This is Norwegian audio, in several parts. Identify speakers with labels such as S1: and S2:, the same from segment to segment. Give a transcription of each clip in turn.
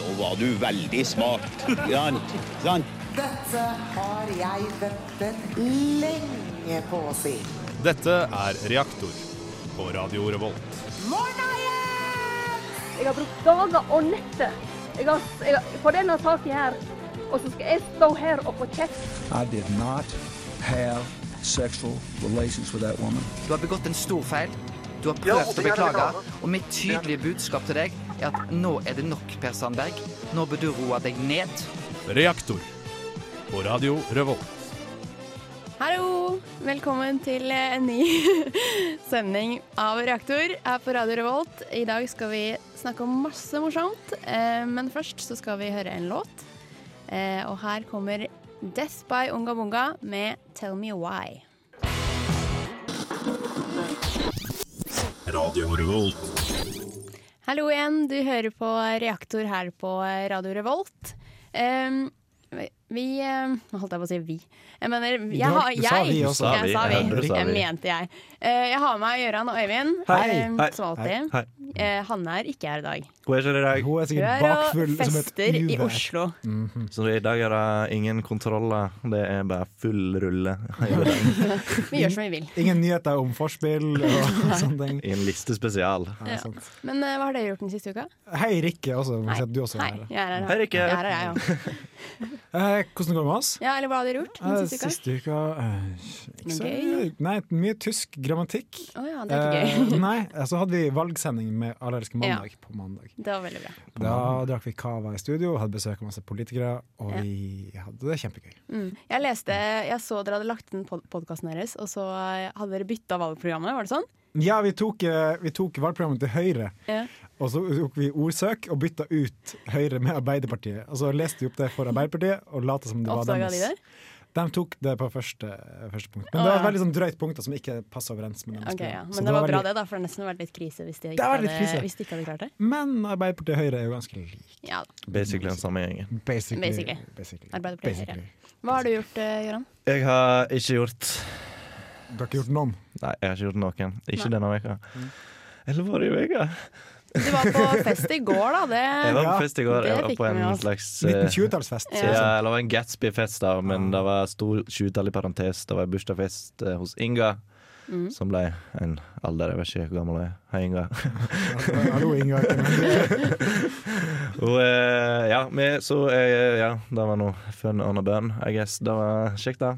S1: Nå var du veldig smart. Sant? Sant?
S2: Dette har jeg ventet lenge på å si.
S3: Dette er Reaktor på Radio Revolt.
S2: Morna igjen!
S4: Jeg har brukt dager og netter jeg har, jeg har, på denne saken her. Og så skal jeg stå her og få kjeft.
S5: I did not have sexual relations with that woman.
S6: Du har begått en stor feil. Du har prøvd å beklage. Og mitt tydelige budskap til deg er at nå er det nok, Per Sandberg. Nå bør du roe deg ned.
S3: Reaktor på Radio Revolt.
S7: Hallo! Velkommen til eh, en ny sending av Reaktor her på Radio Revolt. I dag skal vi snakke om masse morsomt, eh, men først så skal vi høre en låt. Eh, Og her kommer Death by Unga Bunga med Tell Me Why.
S3: Radio Revolt.
S7: Hallo igjen, du hører på Reaktor her på Radio Revolt. Em, vi eh, Nå holdt jeg på å si vi. Jeg mener, jeg
S8: dag-
S7: har
S8: du sa
S7: jeg,
S8: vi også. Du sa
S7: Jeg
S8: vi,
S7: sa
S8: ja, du
S7: vi.
S8: sa
S7: Jeg
S8: vi.
S7: mente jeg. Eh, Jeg har med meg Gøran og Øyvind,
S8: Hei.
S7: em,
S8: Hei.
S7: som alltid.
S8: Hei.
S7: Eh, Hanne er ikke her i dag.
S8: Hun er ikke det i dag.
S9: Hun er
S7: Hun
S9: sikkert
S7: er og
S9: bakfull som et
S7: fester i
S9: uvær.
S7: Oslo.
S8: Så i dag er det ingen kontroller. Det er bare full rulle.
S7: Vi gjør som vi vil.
S9: Ingen nyheter om forspill og sånne ting.
S8: I en listespesial.
S9: Ja, sant.
S7: Men eh, hva har dere gjort den siste uka?
S9: Hei, Rikke, også. må jeg si at Du også
S7: Hei,
S9: er her.
S7: jeg er her.
S8: Hei, Rikke.
S7: Jeg er her, jeg også.
S9: Eh, hvordan går det med oss?
S7: Ja, eller hva har dere gjort
S9: Eh,
S7: den siste uka?
S9: siste uka eh, ikke så,
S7: Gøy.
S9: Nei, mye tysk grammatikk.
S7: Å ja, det er ikke gøy.
S9: Eh, nei, eh, så hadde vi valgsending med Allergisk mandag på mandag.
S7: Det var veldig bra.
S9: Da drakk vi cava i studio, hadde besøk av masse politikere, og vi hadde det kjempegøy.
S7: Mm. Jeg leste, jeg så dere hadde lagt den pod podkasten deres, og så eh, hadde dere bytta valgprogrammet, var det sånn?
S9: Ja, vi tok, eh, vi tok valgprogrammet til Høyre,
S7: Ja.
S9: og så tok vi ordsøk og bytta ut Høyre med Arbeiderpartiet. Og så leste vi opp det for Arbeiderpartiet og lot som det var
S7: Oppdaga de
S9: deres.
S7: det?
S9: De tok det på første, første punkt.
S7: Å,
S9: Men det var
S7: ja.
S9: et veldig sånn drøyt punkt da, som ikke passer overens med
S7: Ok, ja.
S9: Så
S7: Men det var bra,
S9: veldig-
S7: det, da, for det hadde nesten vært litt krise hvis de
S9: Det
S7: ikke
S9: var litt
S7: hadde,
S9: krise.
S7: hvis de ikke hadde klart det.
S9: Men Arbeiderpartiet og Høyre er jo ganske like.
S7: Ja da.
S8: Basically den samme gjengen.
S9: Basically.
S7: Basically.
S9: basically.
S7: Arbeiderpartiet og Høyre.
S9: Basically.
S7: Hva har du gjort, eh, Gøran?
S8: Jeg har ikke gjort
S9: Du har ikke gjort noen?
S8: Nei, jeg har ikke gjort noen. Ikke
S7: Nei.
S8: denne veka. Eller forrige uke.
S7: Du var på fest i går, da.
S8: Jeg
S7: Det
S8: var på
S9: Ja, liksom.
S8: fest i går.
S7: det
S8: Jeg var
S7: fikk
S8: på
S7: vi
S8: en
S7: med oss.
S8: slags eh,
S9: 1920-tallsfest.
S8: Ja. det var en Gatsby-fest, da, men det var stor 20-tall i parentes. Det var en bursdagsfest eh, hos Inga,
S7: Mm.
S8: som ble en alder jeg vet ikke hvor gammel hun er. Hei, Inga.
S9: Hallo, Ingar.
S8: Og, eh, ja, vi, så eh, ja, det var noe fun on a bun, I guess. Det var kjekt, da.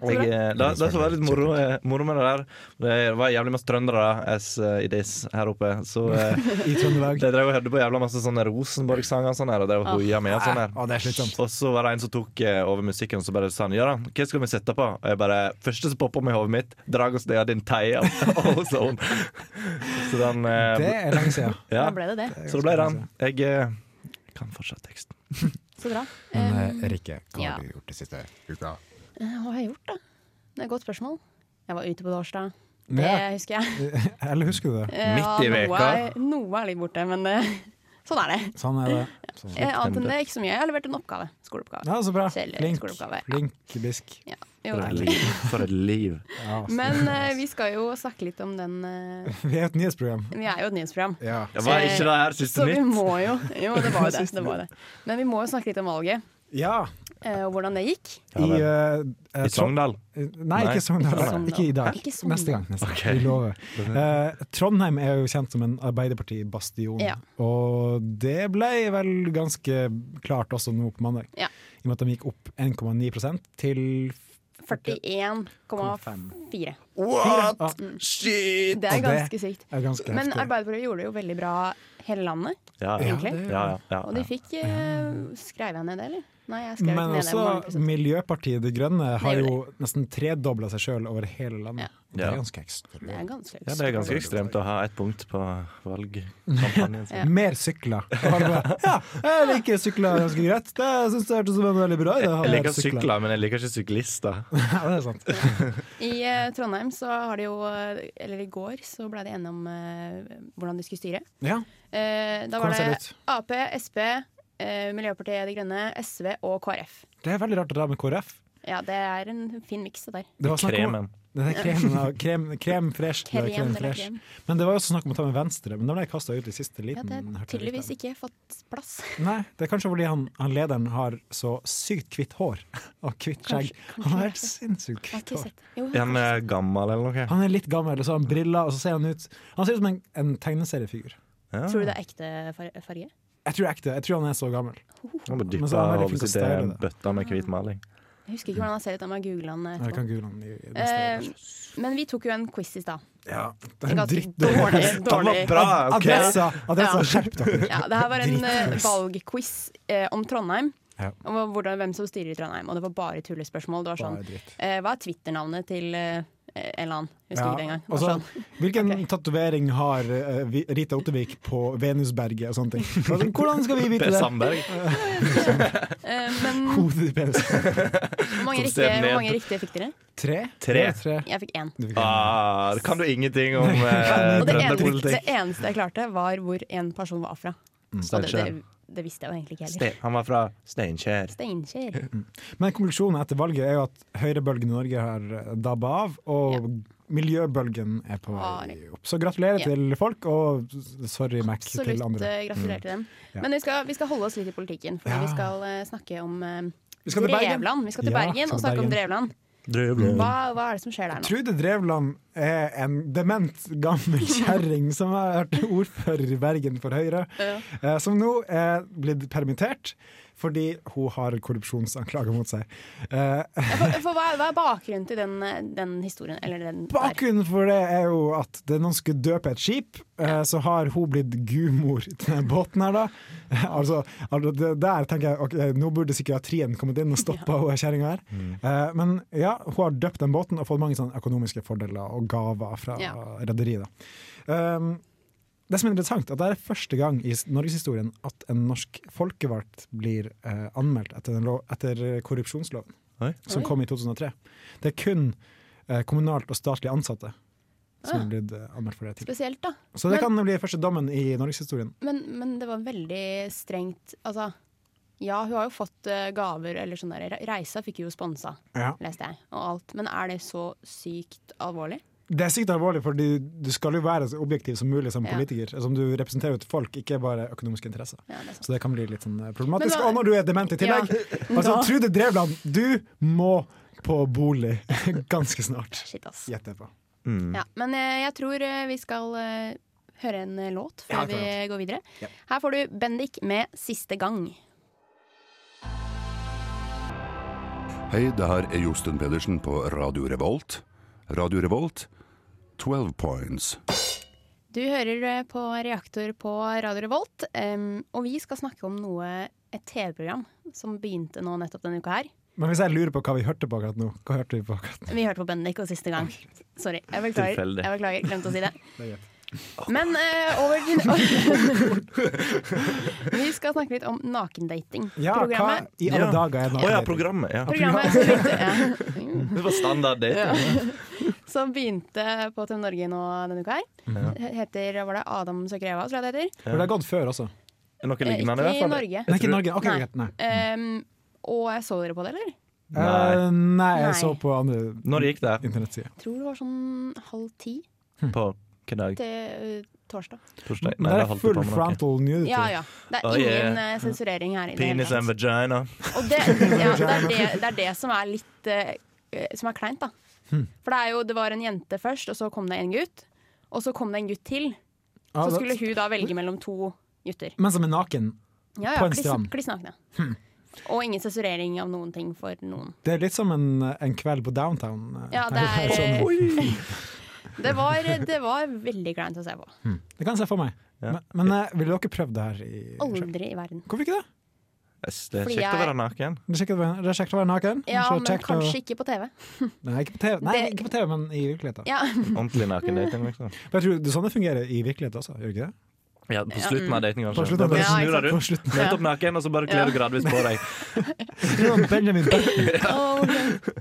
S8: Jeg, eh, det, det som var litt moro, eh, moro med det der, det var jævlig masse trøndere as eh, it is her oppe. Så eh,
S9: I Trøndelag.
S8: de drev og hørte på jævla masse sånne Rosenborg-sanger og sånn her, og drev og hoia med og sånn her.
S9: Å, det er slitsomt.
S8: Og så var det en som tok eh, over musikken og så bare sa han, Ja da, hva skal vi sette på? Og jeg bare Første som poppa opp i hodet mitt, Dragos Dea Din Teia. Og sånn. Så den eh,
S9: Det er lenge siden.
S8: ja.
S7: Da ble det det.
S8: Så det ble den. Jeg eh, kan fortsatt teksten.
S7: Så bra.
S9: Men eh, Rikke, hva
S7: ja.
S9: har du gjort det siste uka?
S7: Eh, Hva har jeg gjort, da? Det er et godt spørsmål. Jeg var ute på torsdag. Det
S9: Ja.
S7: husker jeg.
S9: Eller husker du det?
S7: Eh,
S8: Midt
S7: og
S8: i
S7: noe
S8: veka.
S7: er- Noe er litt borte, men eh, sånn er det.
S9: Sånn er det. Sånn.
S7: Eh, Annet enn det, ikke så mye. Jeg har levert en oppgave. Skoleoppgave.
S9: Ja, så bra.
S7: Kjedelig
S9: Flink,
S7: skoleoppgave.
S9: flink bisk.
S7: Ja. Jo,
S8: For
S7: takk.
S8: et liv. For et liv.
S9: Ja, så-
S7: Men eh, vi skal jo snakke litt om den eh,
S9: Vi er et nyhetsprogram.
S7: Vi er jo et nyhetsprogram.
S9: Ja.
S8: Det var ikke det her
S7: Så
S8: siste
S7: vi
S8: nytt.
S7: må jo Jo, det var jo det. det, var jo det. Men vi må jo snakke litt om valget,
S9: ja.
S7: eh, og hvordan det gikk.
S8: Ja,
S9: I,
S8: vel.
S9: eh, eh,
S8: I Sogndal.
S9: Nei,
S8: Nei.
S9: ikke Sogndal.
S8: Ikke Sogndal.
S9: Ikke i dag.
S7: Ikke Sogndal.
S9: Neste gang. Neste. gang.
S8: Ok.
S9: Vi lover. Eh, Trondheim er jo kjent som en Arbeiderparti-bastion,
S7: Ja.
S9: og det ble vel ganske klart også nå på mandag.
S7: Ja.
S9: I og med at de gikk opp 1,9 til
S7: 41,4.
S8: What? Shit!
S7: Det
S9: Og det-
S7: er ganske sykt.
S9: er ganske
S7: Men
S9: heftig.
S7: Arbeiderpartiet gjorde det jo veldig bra hele landet,
S8: Ja, ja, ja,
S7: egentlig.
S8: ja, ja.
S7: Og de fikk eh, Skrev jeg ned det, eller? Nei, jeg skrev
S9: Men altså,
S7: ikke sånn. ned det. hvor mange
S9: også
S7: prosent.
S9: Miljøpartiet De Grønne har
S7: gjorde
S9: jo nesten tredobla seg sjøl over hele
S7: Ja.
S9: landet. Det
S8: Ja.
S9: er ganske ekstremt.
S7: Det er ganske
S8: Ja, det er ganske ekstremt å ha ett punkt på valgkampanjen. sin.
S9: Mer sykler. Og alle bare, Ja, jeg liker sykler ganske greit. Det syns jeg hørtes ut som en veldig bra idé. å ha
S8: Jeg
S9: mer
S8: liker sykler, men jeg liker ikke syklister.
S9: Ja, det er sant.
S7: I eh, Trondheim så har de jo eh, Eller i går så ble de enige om eh, hvordan de skulle styre.
S9: Ja.
S7: Eh, da var
S9: Hvordan ser
S7: det
S9: det ut?
S7: Ap, Sp, eh, Miljøpartiet De Grønne, SV og KrF.
S9: Det er veldig rart det der med KrF.
S7: Ja, det er en fin miks, det der.
S9: Det var snakk om,
S8: Kremen.
S9: Den der kremen av krem, krem fresh. det er
S7: Krem
S9: krem
S7: eller
S9: fresh.
S7: krem.
S9: Men det var jo også snakk om å ta med venstre, men da ble jeg kasta ut i siste
S7: Ja,
S9: liten.
S7: det
S9: Mm, hørte
S7: har
S9: jeg
S7: tydeligvis
S9: rykte om.
S7: ikke fått plass.
S9: Nei, det er kanskje fordi han, han lederen har så sykt hvitt hår og hvitt skjegg.
S7: Kanskje- kanskje
S9: Han har
S7: det.
S9: helt sinnssykt
S7: Jeg har
S9: hvitt
S7: ikke
S9: hår.
S7: sett Jo,
S8: Er han eh, gammel eller noe?
S9: Han er litt gammel, og så har han briller, og så ser han ut Han ser ut som en, en tegneseriefigur.
S8: Ja.
S7: Tror du det er ekte far- farge?
S9: Jeg tror det er ekte, jeg tror han er så gammel.
S8: Han må
S9: Men
S8: dyppe
S9: så er han veldig
S8: over
S9: flink til å
S8: sitt eh,
S9: style det.
S8: bøtta med hvit maling.
S7: Jeg husker ikke hvordan han ser ut, jeg må google han
S9: Jeg
S7: etterpå.
S9: kan google han i i neste
S7: Eh,
S9: vers.
S7: men vi tok jo en quiz i stad.
S9: Ja, det er en
S7: Ganske
S9: dritt
S7: dårlig.
S8: Den
S7: dårlig.
S8: var bra! ok
S9: Adressa! Adressa,
S7: Ja.
S9: skjerp dere!
S7: Ja, det her var en eh,
S9: Dritquiz.
S7: valgquiz eh, om Trondheim.
S9: Ja.
S7: Om hvordan, hvem som styrer i Trondheim. Og det var bare tullespørsmål. Det var sånn,
S9: Bare dritt.
S7: eh, Hva er Twitter-navnet til eh, en eller annen? Husker
S9: Ja,
S7: ikke det engang. Det
S9: og
S7: var
S9: så-
S7: sånn.
S9: Hvilken
S7: Ok.
S9: tatovering har eh, Vi- Rita Ottervik på Venusberget og sånne ting? Altså, Hvordan skal vi vite
S8: Per
S9: det?
S8: Sandberg.
S7: Eh, men
S9: Hodet i penisen.
S7: hvor mange,
S8: Som
S7: riktige,
S8: ser ned.
S7: hvor mange riktige fikk dere?
S9: Tre?
S8: Tre.
S9: Tre.
S7: Jeg fikk én.
S9: Du fikk en.
S8: Ah, det kan du ingenting om
S7: Og
S8: eh,
S7: det eneste, det
S8: trønderpolitikk.
S7: eneste jeg klarte, var hvor en person var fra. Og det, det,
S8: Mm. Steinkjer.
S7: det visste jeg jo egentlig ikke heller.
S8: Ste- Han var fra Steinkjer.
S7: Steinkjer.
S9: Men konklusjonen etter valget er jo at høyrebølgen i Norge har eh, dabba av, og miljøbølgen er på vei opp. Så gratulerer
S7: Ja.
S9: til folk, og sorry, Mac, til
S7: Absolutt.
S9: andre. Mm.
S7: eh, Gratulerer til dem.
S9: Ja.
S7: Men vi skal, vi skal holde oss litt i politikken, for
S9: Ja.
S7: vi skal eh, snakke om eh,
S9: Vi skal til Bergen.
S7: Drevland. Vi skal til
S9: Ja,
S7: Bergen
S9: skal
S7: og
S9: til
S7: snakke om
S9: Bergen.
S7: Drevland. Hva, hva er det som skjer der nå?
S9: Trude Drevland er en dement gammel kjerring som har vært ordfører i Bergen for Høyre,
S7: Ja.
S9: eh, som nå er blitt permittert fordi hun har korrupsjonsanklager mot seg. Eh,
S7: For, for hva, hva er bakgrunnen til den, eh, den historien? Eller den der?
S9: Bakgrunnen for det er jo at det er noen som skulle døpe et skip, eh, så har hun blitt gudmor til den båten her, da. Altså, altså det, der tenker jeg ok, nå burde psykiatrien kommet inn og stoppa hun kjerringa her. Eh, men ja, hun har døpt den båten og fått mange sånne økonomiske fordeler og gaver fra
S7: Ja.
S9: rederiet, da. Um, det som er interessant, at det er første gang i s- norgeshistorien at en norsk folkevalgt blir eh, anmeldt etter, den lov, etter korrupsjonsloven,
S8: Oi.
S9: som
S7: Oi.
S9: kom i 2003. Det er kun eh, kommunalt og statlig ansatte som
S7: Ah.
S9: er blitt eh, anmeldt for det. tidligere.
S7: Spesielt, da.
S9: Så det kan bli første dommen i norgeshistorien.
S7: Men, men det var veldig strengt. Altså, ja, hun har jo fått eh, gaver eller sånn der. Re- Reisa fikk jo sponsa,
S9: Ja.
S7: leste jeg, og alt. Men er det så sykt alvorlig?
S9: Det er sykt alvorlig, for du, du skal jo være så objektiv som mulig som
S7: Ja.
S9: politiker. Som du representerer jo et folk, ikke bare økonomiske interesser.
S7: Ja, det er sant.
S9: Så det kan bli litt sånn eh, problematisk.
S7: Men hva-
S9: Og når du er dement i tillegg! Altså,
S7: Da-
S9: Trude Drevland, du må på bolig ganske snart.
S7: Shit, ass. Ja.
S9: Gjetter jeg på. Mm.
S7: men eh, jeg tror eh, vi skal eh, høre en eh, låt før
S9: Ja, vi
S7: vi
S9: får en
S7: går videre. Her får du Bendik med 'Siste gang'.
S10: Hei, det her er Josten Pedersen på Radio Revolt. Radio Revolt, 12 points.
S7: Du hører eh, på Reaktor på Radio Revolt, em, og vi skal snakke om noe, et TV-program som begynte nå nettopp denne uka her.
S9: Men hvis jeg lurer på hva vi hørte på akkurat nå Hva hørte vi på akkurat nå?
S7: Vi hørte på Bendik og siste gang. Sorry, jeg beklager.
S8: Tilfeldig.
S7: Jeg beklager, glemte å si det.
S9: Det er greit.
S7: Men eh, over til Vi skal snakke litt om nakendating.
S9: Ja, hva
S7: Programmet.
S9: i alle
S8: Ja.
S9: dager er
S8: Å
S9: det?
S8: ja, programmet. Ja.
S7: Programmet som begynte, ja.
S8: Det var standard, det.
S7: som begynte på TV Norge nå denne uka her.
S8: Mhm.
S7: Heter, var det Adam søker Eva, tror jeg det heter?
S9: For det har gått før også.
S8: Er noe
S7: Eh,
S8: lignende, i
S7: Ikke i
S8: hvert fall.
S7: Norge.
S9: Nei, ikke Norge. Ok,
S7: Nei.
S9: greit. Nei.
S7: Em, og jeg så dere på det, eller?
S8: Nei.
S9: Eh, nei, jeg
S7: Nei.
S9: så på andre
S8: Når gikk det?
S9: internettsider.
S7: Tror det var sånn halv ti
S8: På hvilken dag?
S7: til eh, torsdag.
S8: Torsdag?
S9: Det
S8: Nei,
S9: er
S8: da holdt jeg
S9: full
S8: på med noe.
S9: frontal nudity.
S7: Ja ja. Det er
S8: Oi,
S7: ingen
S8: eh,
S7: eh, sensurering her. i det hele
S8: Penis
S7: tatt.
S8: and vagina.
S7: Og det, ja, det, er det, det er det som er litt eh, eh, Som er kleint, da.
S9: Hmm.
S7: For det, er jo, det var en jente først, og så kom det en gutt. Og så kom det en gutt til.
S9: Ja,
S7: Så
S9: det-
S7: skulle hun da velge mellom to gutter.
S9: Men som er naken.
S7: Ja, ja,
S9: På en
S7: kliss,
S9: strand. Hmm.
S7: kliss nakne. Og ingen sensurering av noen ting for noen.
S9: Det er litt som en, en kveld på downtown. eh,
S7: Ja, det
S9: tenker jeg.
S7: er eh,
S9: Sånn.
S7: Det var, det var veldig kleint å se på.
S9: Det kan jeg se for meg.
S8: Ja.
S9: Men, men eh, ville dere prøvd det her? I,
S7: Aldri i verden.
S9: Hvorfor ikke det?
S8: Yes, det er
S7: Fordi
S8: kjekt å
S7: jeg-
S8: være naken.
S9: Det er kjekt å være- det er kjekt å være naken.
S7: Ja,
S9: Så
S7: men
S9: kjekt å-
S7: kanskje ikke på TV.
S9: Nei, ikke på TV, nei,
S7: Det-
S9: ikke på TV men i virkeligheten.
S7: Ja,
S8: Ordentlig
S7: Mm.
S8: naken dating, liksom.
S9: Men Jeg tror det er sånn det fungerer i virkeligheten også, gjør det ikke det?
S8: Ja, på slutten av dating,
S9: På
S8: kanskje.
S9: slutten
S8: Da
S9: av
S8: bare
S7: dating. mm. Ja,
S8: snur
S7: ikke
S8: deg
S9: sant.
S8: rundt, møter opp naken, og så bare
S7: Ja.
S8: kler du gradvis på deg.
S9: Det var Benjamin Button.
S7: og,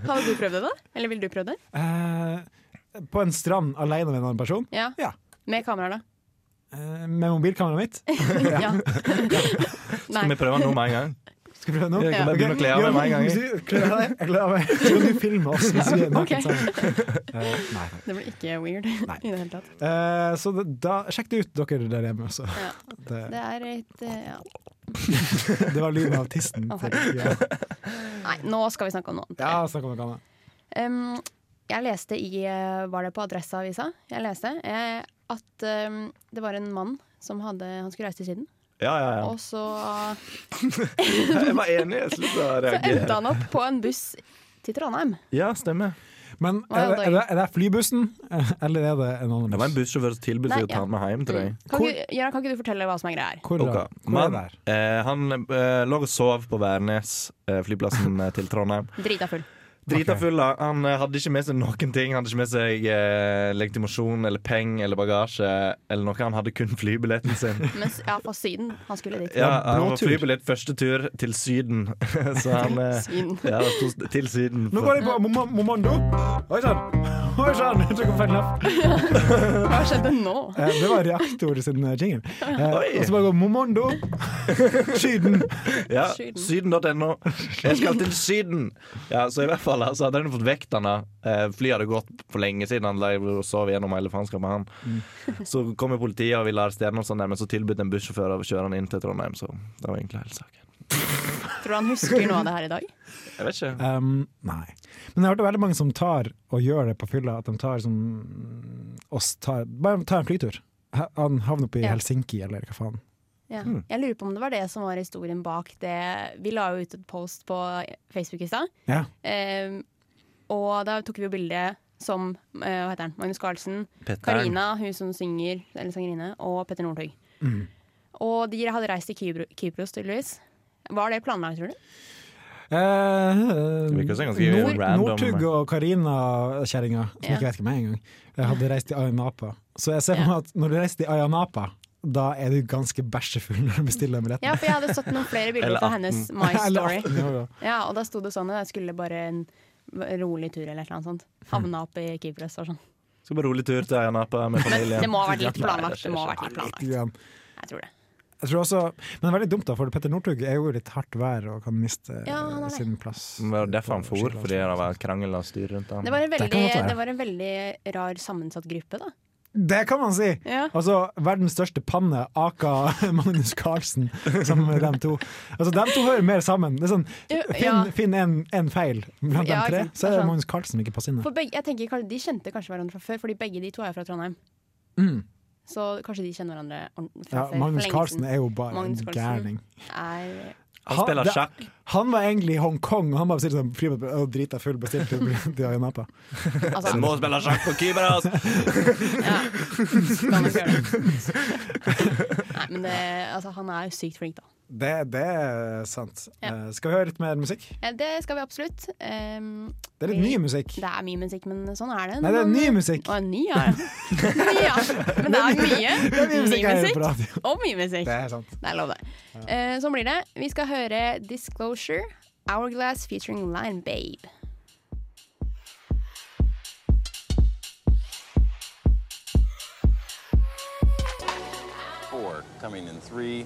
S7: Hadde du prøvd det, da? Eller ville du prøvd det?
S9: Eh, på en strand alene med en annen person,
S7: Ja.
S9: Ja.
S7: Med kamera, da?
S9: eh, med mobilkameraet mitt.
S7: Ja.
S8: Skal vi prøve den nå med en gang?
S9: Skal vi prøve nå?
S8: Jeg kan bare
S9: Ok.
S8: begynne å kle av meg med en gang, jeg.
S9: Ja, Kle av deg. Jeg kler av meg. Så du filmer oss mens vi er
S7: Ok.
S9: naken sammen. Eh, nei, nei.
S7: Det blir ikke weird
S9: Nei.
S7: i det hele tatt.
S9: Eh, så da, da, sjekk det ut, dere der hjemme også.
S7: Ja.
S9: Det,
S7: Det er et eh, ja.
S9: det var lyden av tissen.
S7: Å,
S9: til- Ja,
S7: Nei, nå skal vi snakke om noe annet.
S9: ja snakk om noe annet.
S7: Um, jeg leste i eh, Var det på Adresseavisa? Jeg leste eh, at um, det var en mann som hadde Han skulle reise til Syden,
S8: Ja, ja, ja.
S7: og så,
S8: Jeg var enig. Jeg sluttet å
S7: så endte
S8: reagere.
S7: han opp på en buss til Trondheim.
S8: Ja, stemmer.
S9: Men
S7: Hva
S9: er
S7: er
S9: det, er, det, er det flybussen, eh, eller er det en annen
S8: Det var en
S9: buss?
S8: bussjåførs tilbud
S7: Nei,
S8: til å ta
S7: ja.
S8: han
S7: Mm.
S8: med hjem, tror jeg.
S7: Kan ikke, Jørgen, kan ikke du fortelle hva som er greia her?
S9: Hvor,
S8: Ok,
S9: da? Hvor er
S8: Men
S9: det der?
S8: eh, han eh, lå og sov på Værnes, eh, flyplassen eh, til Trondheim.
S7: Drita full.
S8: Drita
S9: Ok.
S8: full, da. Han eh, hadde ikke med seg noen ting. Han hadde ikke med seg eh, legitimasjon eller penger eller bagasje eller noe. Han hadde kun flybilletten sin.
S7: Men s- ja, fra Syden. Han skulle dit.
S8: Ja,
S9: blå
S8: han var
S9: tur.
S8: flybillett første tur til Syden. Så han eh,
S7: Syden.
S8: Ja, det sto s- til Syden.
S9: Nå
S8: Så-
S9: går jeg på
S7: Mm.
S9: Mom- Momondo. Oi sann! Oi sann! Jeg tok en feil lapp.
S7: Hva skjedde nå?
S9: Eh, Det var reaktor sin eh, jingle. Eh,
S8: Oi.
S9: og så bare går Momondo. Skyden.
S8: Ja,
S7: Syden.
S8: Syden.no. Jeg skal til Syden! Ja, så i hvert fall altså, hadde han fått vekt han da. Eh, Flyet hadde gått for lenge siden. Han lå og sov gjennom hele faenskapet, han.
S9: Mm.
S8: Så kom jo politiet og ville arrestere han, og sånn der, men så tilbød en bussjåfør å kjøre han inn til Trondheim. Så det var egentlig hele saken.
S7: Tror du han husker noe av det her i dag?
S8: Jeg vet ikke.
S9: Um, nei. Men jeg har hørt veldig mange som tar og gjør det på fylla. At de tar som oss tar Bare tar en flytur. Ha- Han havner oppe i
S7: Ja.
S9: Helsinki, eller hva faen.
S7: Ja.
S8: Hmm.
S7: Jeg lurer på om det var det som var historien bak det. Vi la jo ut et post på Facebook i stad.
S9: Ja.
S7: Ehm, og da tok vi jo bilde som eh, hva heter han? Magnus Carlsen,
S8: Petteren.
S7: Karina, hun som synger, eller sangerinne, og Petter Northug.
S9: Mm.
S7: Og de hadde reist til Kypro, Kypros, tydeligvis. Var det planlagt, tror du?
S9: Eh,
S8: virker som en ganske
S9: Nord-
S8: random-
S9: Northug og Karina-kjerringa, som
S7: Ja.
S9: ikke vet hvem er engang, eh, hadde reist til Ayanapa. Så jeg ser for meg at når du reiser til Ayanapa, da er du ganske bæsjefull når du bestiller den billetten.
S7: Ja, for jeg hadde sett noen flere
S8: Eller
S7: bilder fra hennes My
S9: Eller
S7: Story.
S9: 18 år, da.
S7: Ja, og da sto det sånn at jeg skulle bare en rolig tur eller et eller annet sånt.
S9: Mm.
S7: Havna opp i Kypros og sånn.
S8: Skal på rolig tur til Ayanapa med familien.
S7: Det må ha vært litt
S8: Nei, det
S7: planlagt. Det må ha
S8: skjer
S7: vært litt
S9: Litt
S7: planlagt.
S9: grann.
S7: Jeg tror det.
S9: Jeg tror også, men det er veldig dumt, da, for Petter Northug er jo litt hardt vær og kan miste
S7: Ja, han er det.
S9: sin plass.
S8: Det var derfor han for, fordi det var krangel og styr rundt
S7: Det
S8: han.
S7: var en
S9: Det kan
S7: veldig,
S9: godt være.
S7: det var en veldig rar sammensatt gruppe, da.
S9: Det kan man si!
S7: Ja.
S9: Altså, verdens største panne, aka Magnus Carlsen, sammen med dem to. Altså, dem to hører mer sammen. Det er sånn,
S7: Ja,
S9: finn
S7: ja.
S9: finn en, en feil blant
S7: Ja,
S9: dem tre,
S7: ikke sant.
S9: så er
S7: Det er
S9: det
S7: sant.
S9: Magnus Carlsen som ikke passer inn. der.
S7: For begge, jeg tenker, kanskje- De kjente kanskje hverandre fra før, fordi begge de to er fra Trondheim.
S9: Mm.
S7: Så kanskje de kjenner hverandre ordent- fra
S9: Ja,
S7: før.
S9: Magnus
S7: for lenge
S9: Carlsen
S7: siden.
S9: er jo bare en
S7: Magnus Carlsen.
S9: gærning.
S7: Er,
S8: Han spiller
S9: det-
S8: sjakk.
S9: Han var egentlig i Hongkong, og han bare bestilte sånn fribillett og drita full bestilte til Ayanapa.
S7: altså,
S8: Han må spille sjakk på Kypros!
S7: kan nok gjøre det. Nei, men det, altså, han er jo sykt flink, da.
S9: Det, det er sant.
S7: Ja.
S9: Eh, skal vi høre litt mer musikk?
S7: Eh, Det skal vi absolutt. Ehm,
S9: Det er litt
S7: vi-
S9: ny musikk.
S7: Det er mye musikk, men sånn er det.
S9: Nei, det er ny musikk.
S7: Å, ny er det. Ny, ja. Men det er mye.
S9: Det er ny musikk jeg hører på
S7: musikk.
S9: radio.
S7: Og mye musikk.
S9: Det er sant.
S7: Det er lov, det. Eh, sånn blir det. Vi skal høre Disclosure, Hourglass featuring Line Babe.
S1: Four coming in three,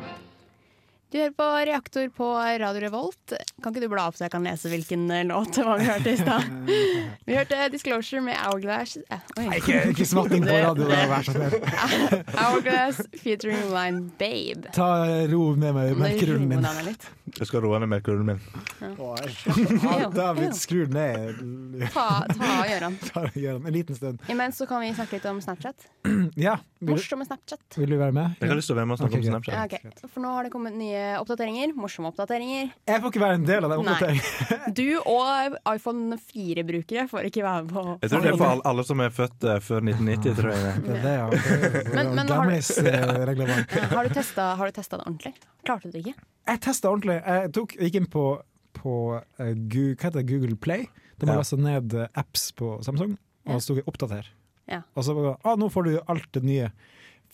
S7: Du hører på Reaktor på Radio Revolt. Kan ikke du bla opp så jeg kan lese hvilken eh, låt det var vi hørte i stad? Vi hørte Disclosure med Hourglass eh, oi.
S9: Ikke, ikke smatting på radio, det er vær så snill.
S7: Hourglass featuring Line Babe.
S9: Ta ro ned med melkerullen
S7: Nå
S9: din.
S7: roer jeg meg litt.
S8: Jeg skal roe ned melkerulen min.
S9: Alt har blitt skrudd ned.
S7: Ta, ta Gøran.
S9: Ta og Gjør den en liten stund.
S7: Imens så kan vi snakke litt om Snapchat.
S9: Ja, vil, du-
S7: Morsomme Snapchat.
S9: vil du være med?
S8: Jeg har lyst til å være med og snakke om
S9: Ok, greit.
S8: Snapchat.
S7: Ja, ok. For nå har det kommet nye oppdateringer. Morsomme oppdateringer.
S9: Jeg får ikke være en del av den
S7: Nei.
S9: oppdateringen.
S7: Du og iPhone 4-brukere får ikke være med på
S8: Jeg tror det er for alle, alle som er født eh, før 1990, tror jeg. det.
S9: Det er det, ja. Det er
S7: Men- men har du-
S9: Gamlis eh, reglement.
S7: Har du testa har du testet det ordentlig? Klarte du det ikke?
S9: Jeg testa ordentlig. Jeg tok, gikk inn på, på på eh, Gu- hva heter det, Google Play. Da
S8: Ja.
S9: må jeg laste ned eh, apps på Samsung, og så sto det 'oppdater'.
S7: Ja.
S9: Og så bare ah, 'Nå får du alt det nye'.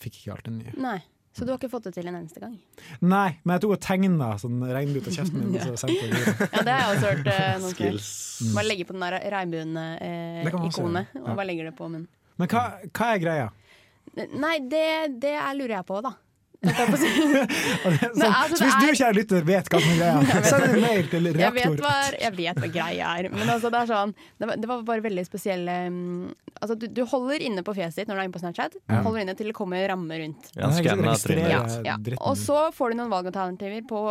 S9: Fikk ikke alt det nye.
S7: Nei. Så du har ikke fått det til en eneste gang?
S9: Nei, men jeg tok og tegna sånn regnbue ut av kjeften min. og så sendte jeg det videre.
S7: Ja, det har jeg også hørt eh, noen til.
S9: Skills.
S7: Bare legge på den der
S9: Mm. Det kan man også
S7: regnbuen-ikonet,
S9: gjøre.
S7: og
S9: Ja.
S7: bare legger det på munnen.
S9: Men hva, hva er greia?
S7: Nei, det, det er, lurer jeg på, da.
S9: Sånn,
S7: Nei, altså,
S9: så hvis
S7: det
S9: du,
S7: er-
S9: kjære lytter, vet hva som er greia, send en mail til
S7: Jeg vet,
S9: reaktor.
S7: hva, jeg vet hva greia er, men altså, det, er sånn, det, var, det var bare veldig spesielle mm, altså, du, du holder inne på fjeset ditt når du er inne på Snapchat. Du
S9: Ja.
S7: holder inne til det kommer ramme rundt.
S8: Ja, han skanner trynet.
S7: Ja, ja.
S8: Dritten.
S7: Og så får du noen valgalternativer på,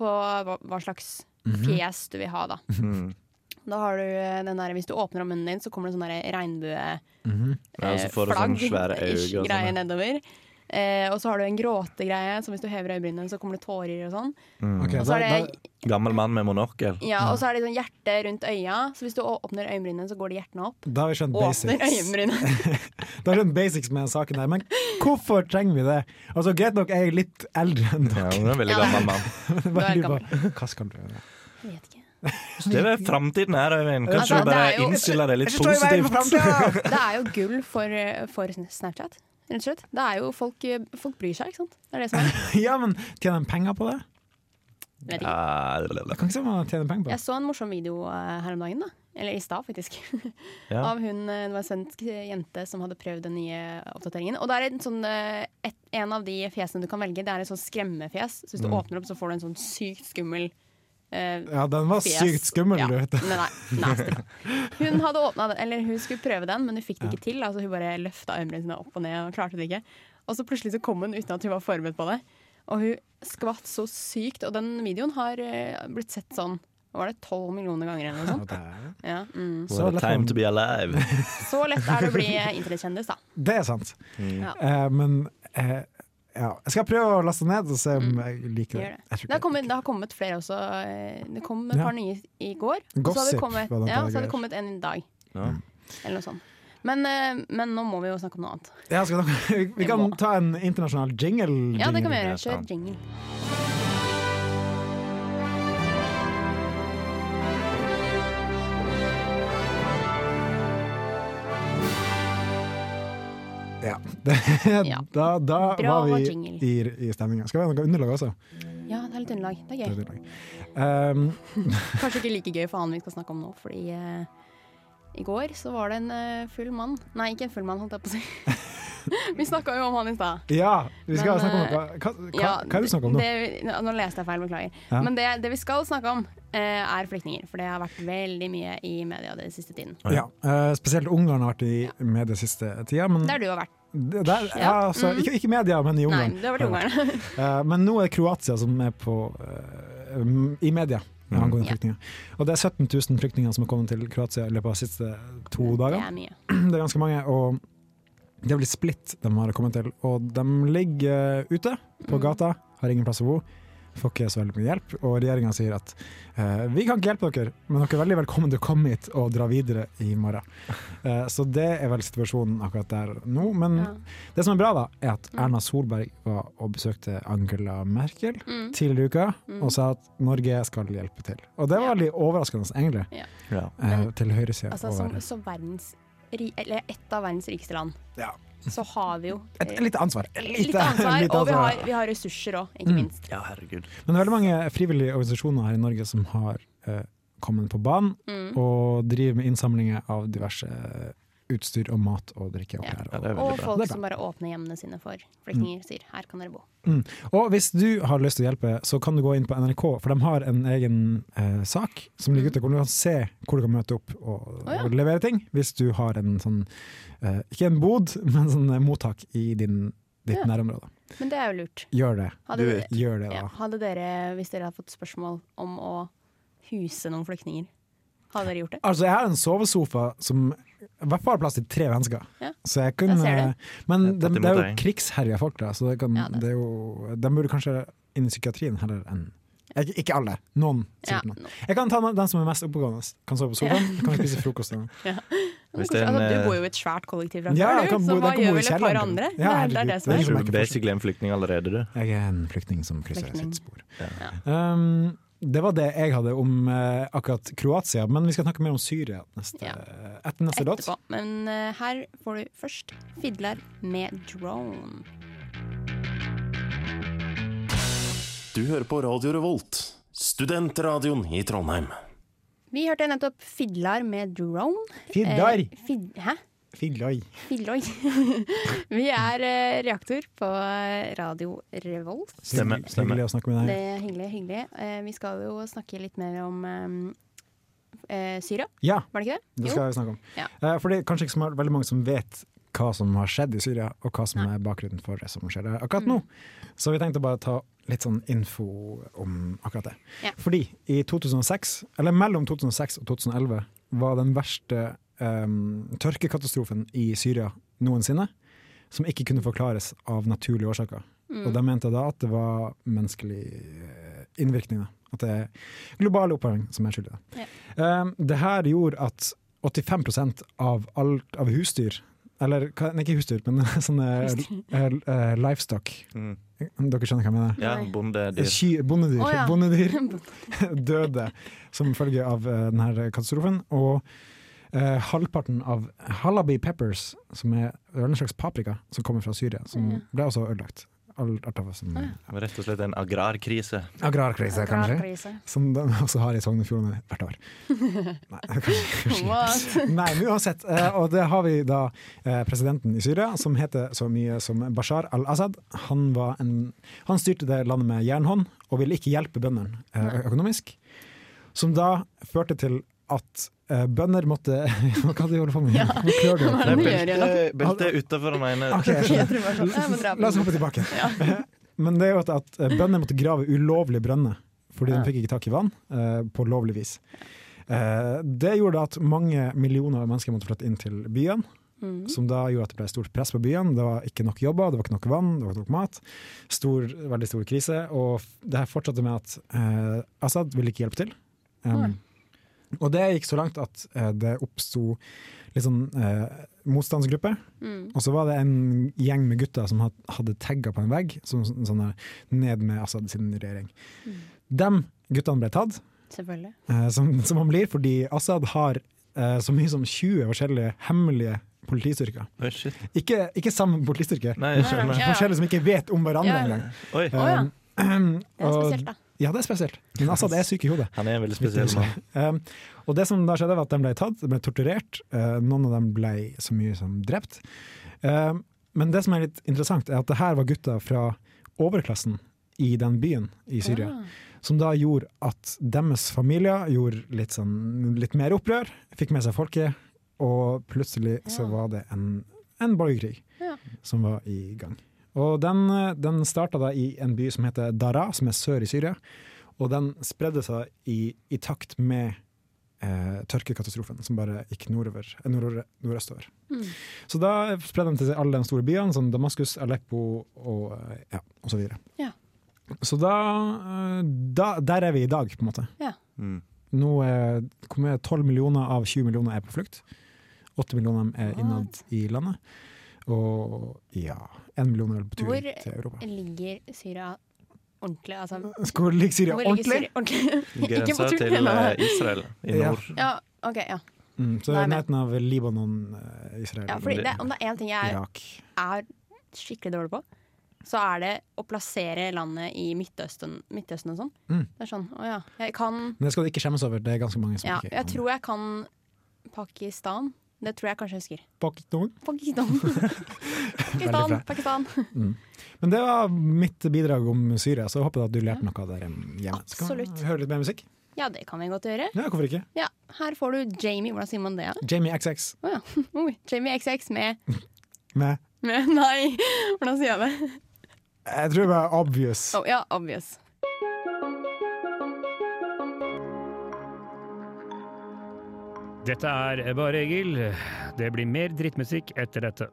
S7: på hva, hva slags
S8: Mhm.
S7: fjes du vil ha. Da.
S9: Mhm.
S7: da har du eh, den der, Hvis du åpner opp munnen din, så kommer det sånn der regnbue
S8: Ja, og så
S7: eh,
S8: får du sånne
S7: flagg-
S8: svære øyne og
S7: ish
S8: sånn,
S7: greier
S8: ja.
S7: nedover. Eh, og så har du en gråtegreie, så hvis du hever øyebrynene, så kommer det tårer og sånn.
S8: Mm.
S7: og så er det
S8: Gammel mann med monokkel.
S7: ja, og så er det sånn hjerte rundt øya, så hvis du å- åpner øyenbrynene, så går det hjertene opp.
S9: Da har vi skjønt
S7: Åpner
S9: basics.
S7: øyenbrynene.
S9: Da har vi skjønt basics med den saken der, men hvorfor trenger vi det? Altså, Greit nok, jeg er litt eldre enn dere.
S8: Ja, du er en veldig
S7: Ja. gammel
S8: mann.
S9: Hva
S7: Du er
S9: lurer på, hva skal du gjøre?
S8: Det er framtiden her, Øyvind. Kanskje
S7: Altså,
S8: du bare
S7: det er jo-
S8: innstiller deg litt
S9: Jeg står i veien for
S8: positivt.
S7: Det er jo gull for, eh, for Snapchat, rett og slett. Det er jo folk, folk bryr seg, ikke sant. Det er det som er.
S9: Ja, men tjener de penger på det?
S7: Vet ikke.
S9: Jeg kan ikke se om man tjener penger på
S7: Jeg så en morsom video eh, her om dagen, da. Eller i stad, faktisk.
S9: Ja.
S7: Av hun, eh, det var en svensk jente som hadde prøvd den nye eh, oppdateringen. Og det er en, sånn, eh, et, en av de fjesene du kan velge, det er et sånn skremmefjes. Så hvis du
S9: Mm.
S7: åpner opp, så får du en sånn sykt skummel eh,
S9: Ja, den var
S7: fjes.
S9: sykt skummel,
S7: Ja.
S9: du vet det.
S7: Nei, nei, nasty. Hun hadde åpnet den, eller hun skulle prøve den, men hun fikk det ikke til. Altså, hun bare løfta øyenbrynene sine opp og ned og klarte det ikke. Og så plutselig så kom hun uten at hun var forberedt på det. Og hun skvatt så sykt. Og den videoen har eh, blitt sett sånn hva var det 12 millioner ganger eller noe sånt. Ja, mm.
S8: What a time to be alive.
S7: Så lett er det å bli eh, internettkjendis, da.
S9: Det er sant.
S7: Ja.
S9: Eh, men eh, ja. jeg skal prøve å laste ned og se om jeg liker
S7: Mm. Gjør
S9: det. Jeg
S7: det. Det har, kommet, det har kommet flere også. eh, Det kom et
S9: Ja.
S7: par nye i går. og så har
S9: Gossip
S7: det kommet,
S9: var det
S7: ja,
S9: noe
S7: så har
S9: greier.
S7: det kommet en i dag.
S8: Ja.
S7: Eller noe sånt. Men, eh, men nå må vi jo snakke om noe annet.
S9: Ja, skal dere- vi, vi kan ta en internasjonal jingle.
S7: Ja, det kan vi
S9: jingle.
S7: gjøre. Kjør jingle.
S9: Ja. Det, da da
S7: Bra
S9: var vi
S7: jingle.
S9: i, i stemninga. Skal vi ha noe underlag også?
S7: Ja, det er litt underlag. Det er
S9: Det er
S7: gøy.
S9: underlag. Um,
S7: Kanskje ikke like gøy for han vi skal snakke om nå, fordi eh, i går så var det en eh, full mann. Nei, ikke en full mann, holdt jeg på å si. vi snakka jo om han i stad.
S9: ja, vi
S7: Men,
S9: skal snakke om
S7: eh,
S9: noe. Hva, hva,
S7: ja,
S9: hva er det du snakker om nå?
S7: det- nå- nå leste jeg feil, beklager.
S9: Ja.
S7: Men det, det vi skal snakke om, eh, er flyktninger. For det har vært veldig mye i media den siste tiden.
S9: Ja, eh, spesielt Ungarn har vært i media siste tida. Men
S7: Der du har vært.
S9: Det- Der, ja.
S7: Ja.
S9: altså,
S7: Mm.
S9: ikke, ikke media, men i
S7: Nei,
S9: Ungarn.
S7: du har vært i Ungarn.
S9: Eh, men nå er det Kroatia som er på, eh, m- i media angående
S7: Ja.
S9: flyktninger. Og det er 17 000 flyktninger som har kommet til Kroatia i løpet av de siste to
S7: Det
S9: dagene.
S7: er mye.
S9: Det er ganske mange. og det er vel splitt de har kommet til, og de ligger eh, ute på
S7: Mm.
S9: gata, har ingen plass å bo, får ikke så veldig mye hjelp, og regjeringa sier at eh, vi kan ikke hjelpe dere, men dere er veldig velkommen til å komme hit og dra videre i morgen. Eh, så det er vel situasjonen akkurat der nå. Men det som er bra, da, er at Erna Solberg var og besøkte Angela Merkel
S7: Mm.
S9: tidligere i uka
S7: Mm.
S9: og sa at Norge skal hjelpe til. Og det var veldig overraskende, egentlig,
S7: Ja.
S9: eh, til høyresida.
S7: Altså, som, som verdens, ri- eller et av verdens rikeste land,
S9: Ja.
S7: så har vi jo eh,
S9: Et lite ansvar. Et
S7: Litt, ansvar,
S9: lite
S7: og vi
S9: ansvar.
S7: har, vi har ressurser òg, ikke
S9: Mm.
S7: minst.
S8: Ja, herregud.
S9: Men det er veldig mange frivillige organisasjoner her i Norge som har eh, kommet på banen
S7: Mm.
S9: og driver med innsamlinger av diverse eh, utstyr og mat og drikke. oppi her.
S7: og folk
S9: Det er
S7: som
S9: bra.
S7: bare åpner hjemmene sine for flyktninger, sier 'her kan dere bo'.
S9: Mm. Og hvis du har lyst til å hjelpe, så kan du gå inn på NRK, for de har en egen eh, sak som ligger ute, hvor du kan se hvor du kan møte opp og,
S7: Mm. Å, ja.
S9: og levere ting, hvis du har en sånn, eh, ikke en bod, men sånn eh, mottak i din, ditt
S7: Ja.
S9: nærområde.
S7: Men det er jo lurt.
S9: Gjør det.
S7: Hadde, dere-
S9: Gjør det, da.
S7: ja, hadde dere, hvis dere hadde fått spørsmål om å huse noen flyktninger, hadde dere gjort det?
S9: Altså, jeg har en sovesofa som i hvert fall har plass til tre mennesker.
S7: Ja.
S9: Så jeg kunne,
S7: Der ser du.
S9: Men
S8: Jeg er
S9: de,
S8: tatt imot
S9: det er jo
S8: deg.
S9: krigsherja folk, da, så det kan, det. er jo, de burde kanskje inn i psykiatrien heller enn ikke, ikke alle, noen.
S7: Ja,
S9: sikkert noen. Jeg kan ta den- den som er mest oppegående. Kan sove på sofaen,
S7: Ja.
S9: kan spise frokost. og-
S7: Ja. Men
S8: Hvis
S7: kanskje-
S8: det er en,
S7: altså,
S8: eh,
S7: du bor jo i et svært kollektiv, fra
S9: Ja,
S7: før,
S9: jeg
S7: du,
S9: kan bo-
S7: så
S9: jeg
S7: hva
S9: kan bo
S7: gjør
S9: i
S7: vel et par
S9: kjelleren.
S7: andre?
S9: Ja,
S7: det, er, det er det
S9: herregud,
S7: som
S9: det
S7: er.
S9: er
S8: Du er basically en flyktning allerede, du.
S9: Jeg er en flyktning som krysser
S7: Flyktning.
S9: sitt spor. Um, det var det jeg hadde om eh, akkurat Kroatia, men vi skal snakke mer om Syria neste, eh, etter neste låt.
S7: Etterpå. Men eh, her får du først Fidler med Drone.
S11: Du hører på Radio Revolt, studentradioen i Trondheim.
S7: Vi hørte nettopp Fidlar med Drone.
S11: Fidlar?
S7: Eh, fid Hæ?
S9: Fidløy.
S7: Fidløy. Vi er eh, reaktor på eh, Radio Revolt.
S8: Stemme, stemme.
S9: Hyggelig å snakke med
S7: Det
S9: deg.
S7: er hyggelig. hyggelig. Eh, vi skal jo snakke litt mer om eh, eh, Syria,
S9: Ja,
S7: var det ikke det?
S9: det skal vi snakke om.
S7: Ja.
S9: Eh, For det er kanskje ikke så veldig mange som vet hva som har skjedd i Syria, og hva som er bakgrunnen for det som skjer der akkurat nå. Så vi tenkte bare ta litt sånn info om akkurat det.
S7: Ja.
S9: Fordi i 2006, eller mellom 2006 og 2011, var den verste em, tørkekatastrofen i Syria noensinne, som ikke kunne forklares av naturlige årsaker.
S12: Mm.
S9: Og de mente da at det var menneskelig eh, innvirkning. Da. At det er global oppvarming som er skyldig. da. Um, det her gjorde at 85 av, alt, av husdyr Eller hva- nei, ikke husdyr, men sånne
S7: Husdyr.
S9: eh, eh, livestock. Dere skjønner hva jeg mener?
S8: Mm. Ja, Nei. bondedyr.
S9: Ky- bondedyr,
S8: Å, ja.
S9: bondedyr døde som følge av eh, denne katastrofen. Og eh, halvparten av halabi peppers, som er en slags paprika som kommer fra Syria, som
S8: Ja.
S9: ble også ødelagt. Alt artover som
S8: Det var Rett og slett en agrarkrise.
S9: Agrarkrise, kanskje. Som de også har i Sogn og Fjordane hvert år. Nei, men uansett. eh, Og det har vi da eh, presidenten i Syria, som heter så mye som Bashar al-Assad. Han, var en- han styrte det landet med jernhånd, og ville ikke hjelpe bøndene eh, ø- økonomisk. Som da førte til at eh, bønder måtte Hva er det du holder på med?
S7: Ja.
S9: Hvor klør du?
S7: Hva er det du gjør igjen?
S8: Belte utafor den ene.
S9: Ok, jeg skjønner.
S7: sånn, Ja, men dra på.
S9: La oss hoppe tilbake. Men det er jo at, at eh, bønder måtte grave ulovlige brønner, fordi
S12: Ja.
S9: de fikk ikke tak i vann eh, på lovlig vis. Eh, det gjorde at mange millioner av mennesker måtte flytte inn til byen,
S12: Mhm.
S9: som da gjorde at det ble stort press på byen. Det var ikke nok jobber, det var ikke nok vann, det var ikke nok mat. Stor, veldig stor krise. Og f- det her fortsatte med at eh, Assad ville ikke hjelpe til. Um,
S12: Nei.
S9: og det gikk så langt at eh, det oppsto litt sånn eh, motstandsgruppe.
S12: Mm.
S9: Og så var det en gjeng med gutter som had- hadde tagga på en vegg, som sånn, sånn ned med Assad sin regjering. De guttene ble tatt,
S7: Selvfølgelig.
S9: eh, som, som han blir, fordi Assad har eh, så mye som 20 forskjellige hemmelige politistyrker.
S8: Oi, shit.
S9: Ikke, ikke samme politistyrke,
S8: Nei, jeg skjønner.
S9: men
S8: Ja, ja.
S9: forskjellige som ikke vet om hverandre
S8: Ja, ja.
S9: engang.
S8: Oi.
S9: Eh,
S8: Å,
S7: Det er spesielt, da.
S9: Ja, det er spesielt. Men Assad er syk i hodet.
S8: Han er en veldig spesiell mann.
S9: Um, og det som da skjedde var at de ble tatt, de ble torturert. eh, noen av dem ble så mye som drept. Um, men det som er litt interessant, er at det her var gutter fra overklassen i den byen i Syria.
S12: Ah.
S9: Som da gjorde at deres familier gjorde litt, sånn, litt mer opprør, fikk med seg folket, og plutselig så var det en, en borgerkrig
S12: Ja.
S9: som var i gang. Og den, eh, den starta da i en by som heter Dara, som er sør i Syria. Og den spredde seg i, i takt med eh, tørkekatastrofen, som bare gikk nordover, eh, nordover, nordøstover.
S12: Mm.
S9: Så da spredde de til seg alle de store byene, som Damaskus, Aleppo og, eh, ja, og så videre.
S7: Ja.
S9: Så da, eh, da Der er vi i dag, på en måte.
S7: Ja.
S9: Nå er hvor mye er det? 12 millioner av 20 millioner er på flukt. 8 millioner av dem er innad i landet. Og ja 1 million er vel på tur
S7: Hvor
S9: til Europa.
S7: ligger Syria ordentlig? Altså,
S9: Hvor ligger Syria
S7: hvor ligger
S9: ordentlig?
S7: Syria ordentlig? Ikke på
S8: Grensa
S7: tur,
S8: til
S7: men-
S8: eh, Israel i
S9: Ja.
S8: nord.
S7: Ja, ok, ja.
S9: Mm, så
S7: Nei,
S9: i
S7: men-
S9: nærheten av Libanon, eh, Israel
S7: ja fordi det, om det er én ting jeg er,
S9: Irak.
S7: er skikkelig dårlig på, så er det å plassere landet i Midtøsten, Midtøsten og sånn.
S9: Mm.
S7: Det er sånn, å ja. Jeg kan
S9: Men det skal du ikke skjemmes over, det er ganske mange som
S7: Ja,
S9: ikke
S7: jeg tror jeg kan Pakistan. Det tror jeg kanskje jeg husker.
S9: Pakistan.
S7: Pakistan, Pakistan,
S9: bra.
S7: Pakistan.
S9: Mm. Men det var mitt bidrag om Syria, så jeg håper at du lærte noe der hjemme. Så kan
S7: Absolutt.
S9: vi høre litt mer musikk.
S7: Ja, det kan vi godt gjøre.
S9: Ja, hvorfor ikke?
S7: Ja, her får du Jamie, hvordan sier man det? da?
S9: Jamie XX
S7: Å ja. Oi, Jamie XX med,
S9: med
S7: med Nei, hvordan sier jeg det?
S9: Jeg tror det var obvious.
S7: Å, Oh, ja, obvious.
S13: Dette er Bare Egil. Det blir mer drittmusikk etter dette.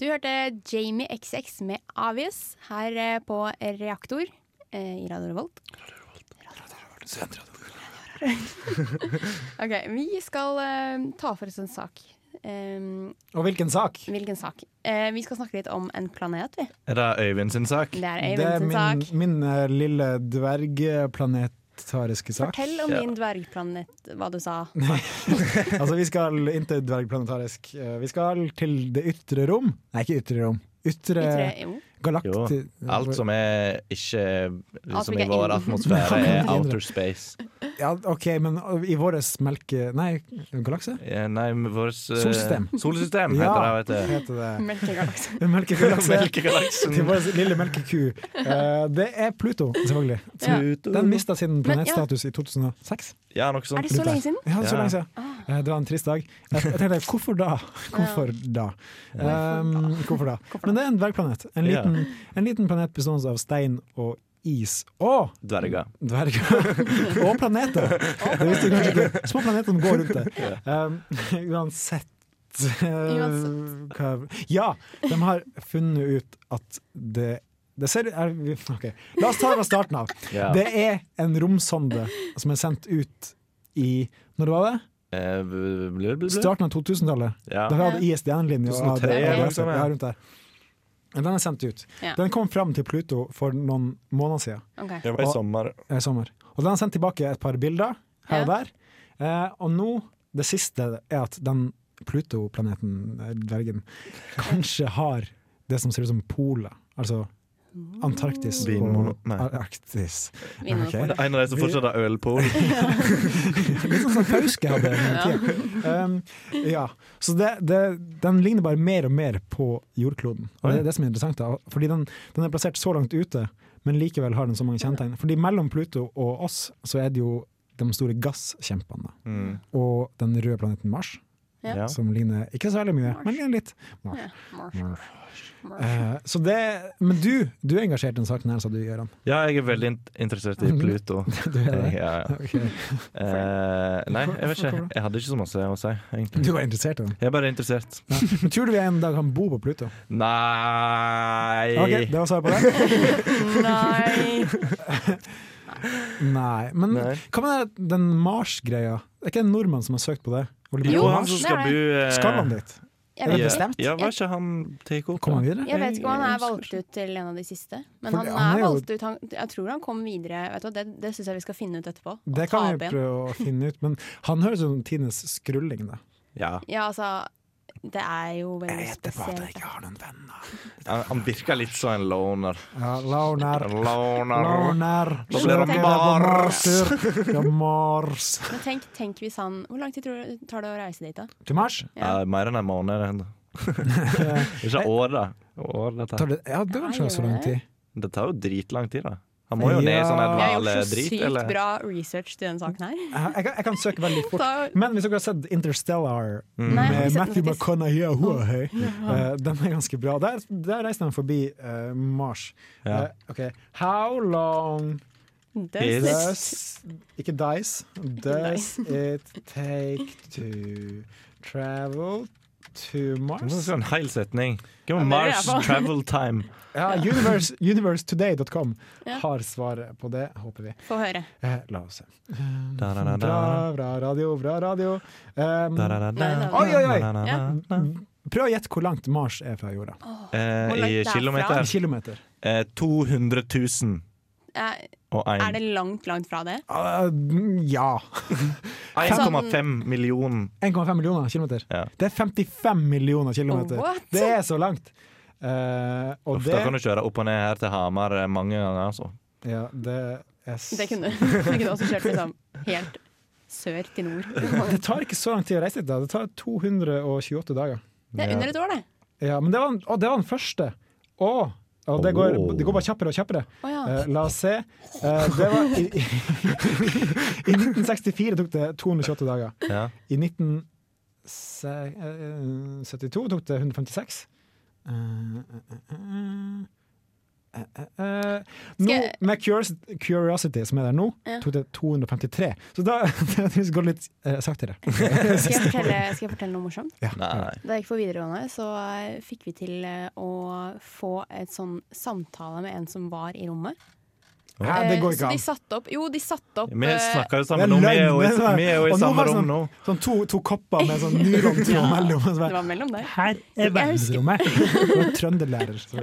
S7: Du hørte Jamie XX med Obvious her eh, på Reaktor eh, i Radio Revolt. Ok, vi skal eh, ta for oss en sak. Em,
S9: Og hvilken sak?
S7: hvilken sak? Eh, vi skal snakke litt om en planet, vi.
S8: Er det Øyvind sin sak?
S7: Det er
S9: Det
S7: Øyvind
S9: er
S7: sin sak.
S9: min, min eh, lille dvergplanet Parlamentariske sak.
S7: Fortell om din dvergplanet, hva du sa.
S9: Nei. altså, vi skal ikke dvergplanetarisk. Eh, Vi skal til det ytre rom. Nei, ikke ytre rom. Ytre,
S7: Ytre, jo.
S8: Jo.
S9: galakti...
S8: Alt som er ikke
S7: Alt som
S8: Som i
S7: ikke er
S8: vår
S7: innen.
S8: atmosfære,
S9: Nei,
S8: er outer space.
S9: Ja, OK, men i vår melke... Nei, galakse?
S8: Eh, Nei, men vår eh,
S9: Solsystem.
S8: Solsystem
S9: Ja,
S8: heter det. Vet
S9: heter det.
S7: Melkegalakse.
S9: Melkegalakse.
S8: Melkegalaksen.
S9: Til vår lille melkeku. Eh, det er Pluto, selvfølgelig.
S7: Ja.
S8: Pluto.
S9: Den mista sin
S7: Men, ja.
S9: planetstatus i 2006.
S8: Ja, noe sånt.
S7: Er det så lenge siden?
S9: Ja, det er så
S8: Ja.
S9: lenge siden. Eh, Det var en trist dag. Jeg jeg tenkte, hvorfor da? Hvorfor da? Um, hvorfor da? Men det er en dvergplanet. En
S8: Ja.
S9: liten, en liten planet bestående av stein og is. Og
S8: Dverger.
S9: dverger. og planeter! Det visste jeg kanskje ikke. Små planeter som går rundt det. Um, uansett eh, hva- Ja, de har funnet ut at det det ser, er, vi- ok. La oss ta det fra starten av.
S8: Ja.
S9: Det er en romsonde som er sendt ut i Når var det?
S8: Eh, bl- bl- bl- bl-
S9: Starten av 2000-tallet.
S8: Ja.
S9: Da vi hadde ISDN-linja.
S8: 2003 eller noe sånt, ja.
S9: Den er sendt ut.
S7: Ja.
S9: Den kom fram til Pluto for noen måneder siden.
S7: Ok.
S8: Det var i
S9: Og-
S8: sommer.
S9: eh, sommer. Og den har sendt tilbake et par bilder her og
S7: Ja.
S9: der. Eh, og nå, det siste, er at den Pluto-planeten, eh, dvergen, kanskje har det som ser ut som poler. Altså Antarktis og
S8: Vinmono- nei.
S9: Arktis.
S8: Det
S9: Ok.
S8: er En av de som fortsatt har ølpol.
S9: Litt sånn som Fauske hadde en
S7: Ja.
S9: tid. Um, ja. Så det, det, den ligner bare mer og mer på jordkloden. Og det er det som er interessant. Da. Fordi den, den er plassert så langt ute, men likevel har den så mange kjennetegn. Fordi mellom Pluto og oss så er det jo de store gasskjempene. da.
S8: Mm.
S9: Og den røde planeten Mars,
S8: Ja.
S9: som ligner ikke så veldig mye, men ligner litt. Mars. Mars. Eh, så det, men du, du er engasjert i denne saken her, sa du, Gøran.
S8: Ja, jeg er veldig int- interessert i Pluto.
S9: Du er det?
S8: Ja, ja.
S9: Ok.
S8: Eh, nei, jeg vet ikke. Jeg hadde ikke så masse å si, egentlig.
S9: Du var interessert i den?
S8: Jeg er bare interessert.
S9: Ja. Men tror du vi en dag kan bo på Pluto?
S8: Nei
S9: Ok, det var svaret på det.
S7: Nei.
S9: Nei, men
S8: Nei.
S9: hva med det- den Mars-greia? Er ikke en nordmann som har søkt på det? Ole Petter
S8: Jo,
S9: Mars?
S8: han som skal bo eh,
S9: Skal han dit?
S7: Jeg
S9: Er
S7: vet
S9: det
S7: ikke.
S9: bestemt?
S8: Ja, var ikke han TK?
S9: Kom han videre?
S7: Jeg vet ikke om han er valgt ut til en av de siste. Men
S9: For
S7: han
S9: det- han
S7: er
S9: er jo-
S7: valgt ut han, Jeg tror han kom videre. Vet du, hva, det det syns jeg vi skal finne ut etterpå. og
S9: Det
S7: ta
S9: kan
S7: opp
S9: vi
S7: igjen.
S9: prøve å finne ut, men han høres ut som tidenes skrulling. Da.
S8: Ja.
S7: Ja, altså Det er jo veldig spesielt.
S8: Han, han virker litt som en loner.
S9: Ja, Launer.
S8: Loner.
S9: Launer.
S8: Da blir det
S9: Søker
S8: Mars.
S9: Mars. Ja, Mars.
S7: Men tenk, tenk hvis han Hvor lang tid tror du tar det å reise dit, da?
S9: Til Mars?
S8: Ja. mer enn en måned. det. ikke år, da. År, dette.
S9: Tar det, ja, det var ikke så lang tid.
S8: Det tar jo dritlang tid, da. Han må jo ned i
S9: Ja.
S8: sånn
S9: Vi
S7: Vi har gjort så
S8: dvaledrit,
S7: sykt
S8: eller?
S7: bra research til denne saken her.
S9: Jeg, jeg, kan- jeg kan søke veldig fort.
S7: Da-
S9: Men hvis dere har sett Interstellar
S8: Mm.
S7: Nei, jeg har
S9: med
S7: ikke sett den
S9: Matthew
S7: faktisk.
S9: McConaughey og Huawei, eh, den er ganske bra. Der, der reiste han forbi eh, Mars.
S8: Ja.
S9: Eh, ok. How long
S7: Det
S8: Yes.
S7: er
S9: does Ikke dies. Does it take to travel to
S8: Det
S9: Mars?
S8: er en hel setning. Hvem
S7: Ja,
S8: er
S7: det er
S8: Mars
S7: jeg på.
S8: travel time?
S9: Ja, universe, universetoday.com
S7: Ja.
S9: har svaret på det, håper vi.
S7: Få høre.
S9: Eh, la oss se.
S8: Da, da, da, da.
S9: Bra, bra radio, bra radio. Um,
S8: Da, da, da, da.
S9: Oi, oi, oi!
S8: Da, da, da, da.
S9: Prøv å gjette hvor langt Mars er fra jorda.
S8: Eh,
S7: Hvor langt
S8: I
S7: det er fra?
S9: I
S8: kilometer
S9: kilometer.
S8: eh, 200 000
S7: Er,
S8: og
S7: er
S8: 1.
S7: det langt, langt fra det?
S9: Ah, mm, ja.
S7: sånn-
S8: 1,5 millioner.
S9: 1,5 millioner kilometer.
S8: Ja.
S9: Det er 55 millioner kilometer.
S7: Oh, what?
S9: det er så langt. Eh, og
S8: Uff,
S9: det,
S8: Da kan du kjøre opp og ned her til Hamar eh, mange ganger, altså.
S9: ja, det, er s-
S7: Det kunne, det kunne også kjørt liksom helt sør til nord.
S9: det tar ikke så lang tid å reise dit. da Det tar 228 dager.
S7: Det er under et år, det.
S9: Ja, men det var, den- å, det var den første. Å! Og det går, det går bare kjappere og kjappere.
S7: Å ja.
S9: Eh, la oss se. Eh, det var i, i, I 1964 tok det 228 dager.
S8: Ja.
S9: I 1972 eh, tok det 156. Eh, eh, eh, eh, eh, eh. Nå,
S7: Skal jeg-
S9: med Curiosity, Curiosity, som er der nå,
S7: Ja.
S9: tok det 253. Så da det går litt eh, saktere.
S7: Skal jeg, fortelle, skal jeg fortelle noe morsomt?
S8: Nei.
S7: Da jeg gikk på videregående, så eh, fikk vi til eh, å få et sånn samtale med en som var i rommet.
S9: Hæ, det
S7: Eh,
S9: går ikke
S7: så de
S9: an.
S7: satte opp Jo, de satte opp
S8: Vi
S7: eh,
S8: snakker jo
S9: Det
S8: sammen nå. Vi er jo i,
S9: løgn, det der.
S8: vi er jo i
S9: Og nå
S8: samme
S9: har
S8: rom
S9: sånn,
S8: nå.
S9: Sånn to, to kopper med sånn nylontråd
S7: Ja.
S9: mellom. Og så
S7: Det
S9: bare,
S7: var mellom der.
S9: Her er
S7: Jeg husker-
S9: verdensrommet! Det var en Trønderlærer. som-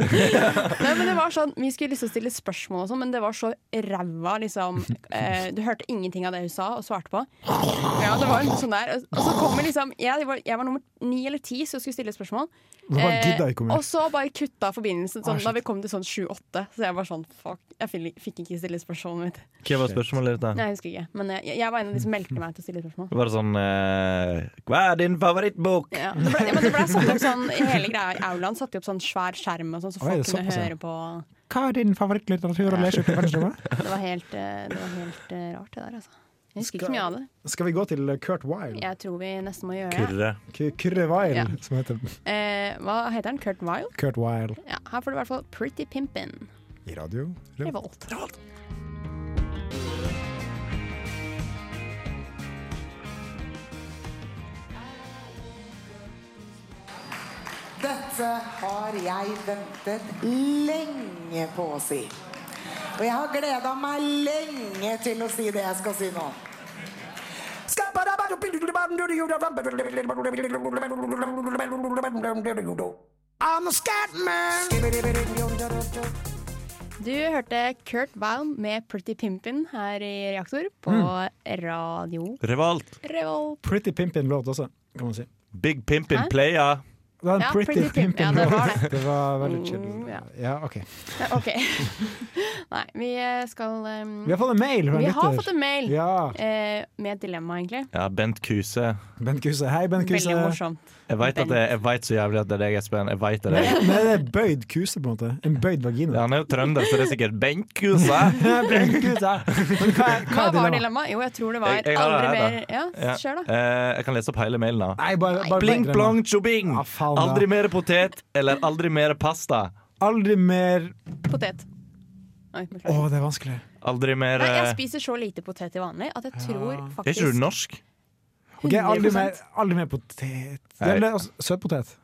S7: Nei, men det var sånn, Vi skulle liksom stille spørsmål, og sånn, men det var så ræva. Liksom, eh, du hørte ingenting av det hun sa, og svarte på. Ja, det var sånn der Og, og så kommer liksom jeg, var, jeg var nummer ni eller ti, så jeg skulle stille spørsmål. Eh,
S9: Du bare gidda ikke å komme.
S7: og så bare kutta forbindelsen sånn,
S9: Ah,
S7: da vi kom til sånn sju-åtte. Så jeg var sånn fuck, jeg fin- fikk ikke stille spørsmålet mitt.
S8: Hva var spørsmålet ditt?
S7: Nei,
S8: da?
S7: jeg husker ikke. Men eh, jeg, jeg var en av de som meldte meg til å stille spørsmål.
S8: Var det sånn eh, Hva er din favorittbok?
S7: Ja, det ble, ja, men det ble satt opp sånn i hele greia. i Aulaen satte de opp sånn svær skjerm, og sånn, så
S9: Oi,
S7: folk
S9: det altså?
S7: kunne
S9: er såpass, ja.
S7: høre på.
S9: Hva er din favorittlitteratur å lese ute i verdensrommet?
S7: Det var helt, eh, det var helt eh, rart, det der, altså. Jeg husker ikke så mye av det.
S9: Skal vi gå til Kurt Weil?
S7: Jeg tror vi nesten må gjøre det.
S8: Kyrre.
S9: K- Kyrre Weil,
S7: Ja.
S9: som heter
S7: Eh, hva heter den? Kurt Weil?
S9: Kurt Weil
S7: Ja, her får du i hvert fall Pretty Pimpin.
S9: i radio.
S7: Revolt.
S2: Dette har jeg ventet lenge på å si. Og jeg har gleda meg lenge til å si det jeg skal si nå.
S12: I'm a scat man.
S7: Du hørte Kurt Weil med Pretty Pimpin her i Reaktor på radio
S8: Revolt.
S7: Revolt.
S9: Pretty Pimpin-låt også, kan man si.
S8: Big Pimpin
S7: Hæ?
S8: Player.
S9: Det var en
S7: Ja,
S9: Pretty,
S7: Pretty Pimp, ja, det
S9: Pimpin-låt.
S7: var
S9: det.
S7: det.
S9: var veldig chill.
S7: Mm, ja.
S9: Ja, ok.
S7: Ja, OK. Nei, vi eh, skal ehm,
S9: Vi har fått en mail fra en
S7: Vi har
S9: lytter.
S7: fått en mail
S9: Ja.
S7: eh, med et dilemma, egentlig.
S8: Ja, Bent Kuse.
S9: Bent Kuse. Hei, Bent Kuse.
S7: Veldig morsomt.
S8: Jeg veit at det, jeg vet så jævlig at det er deg, Espen. Jeg vet det.
S9: Nei, nei, det er bøyd kuse, på en måte. En bøyd vagina.
S8: Han er jo trønder, så det er sikkert Bent Kuse.
S9: Bent Kuse. Men hva, er- hva
S7: Hva var
S9: er dilemmaet?
S7: dilemmaet? Jo, jeg tror det var
S8: Jeg- jeg har
S7: aldri
S8: det her, da.
S7: mer Ja, kjør, da.
S8: Eh, jeg kan lese opp hele mailen. da
S9: Nei, bare, bare
S8: Bling
S9: bare-
S8: plong tjobing!
S9: da.
S8: Aldri mer potet eller aldri mer pasta.
S9: Aldri mer
S7: Potet. Oi,
S9: Å,
S7: beklager.
S9: det er vanskelig.
S8: Aldri mer
S7: Nei, jeg
S8: eh,
S7: spiser så lite potet til vanlig at jeg tror
S8: Er ikke du
S7: faktisk
S8: norsk?
S9: Ok, aldri,
S7: 100%.
S9: mer, aldri mer potet
S8: Nei.
S9: Eller, altså, Søtpotet.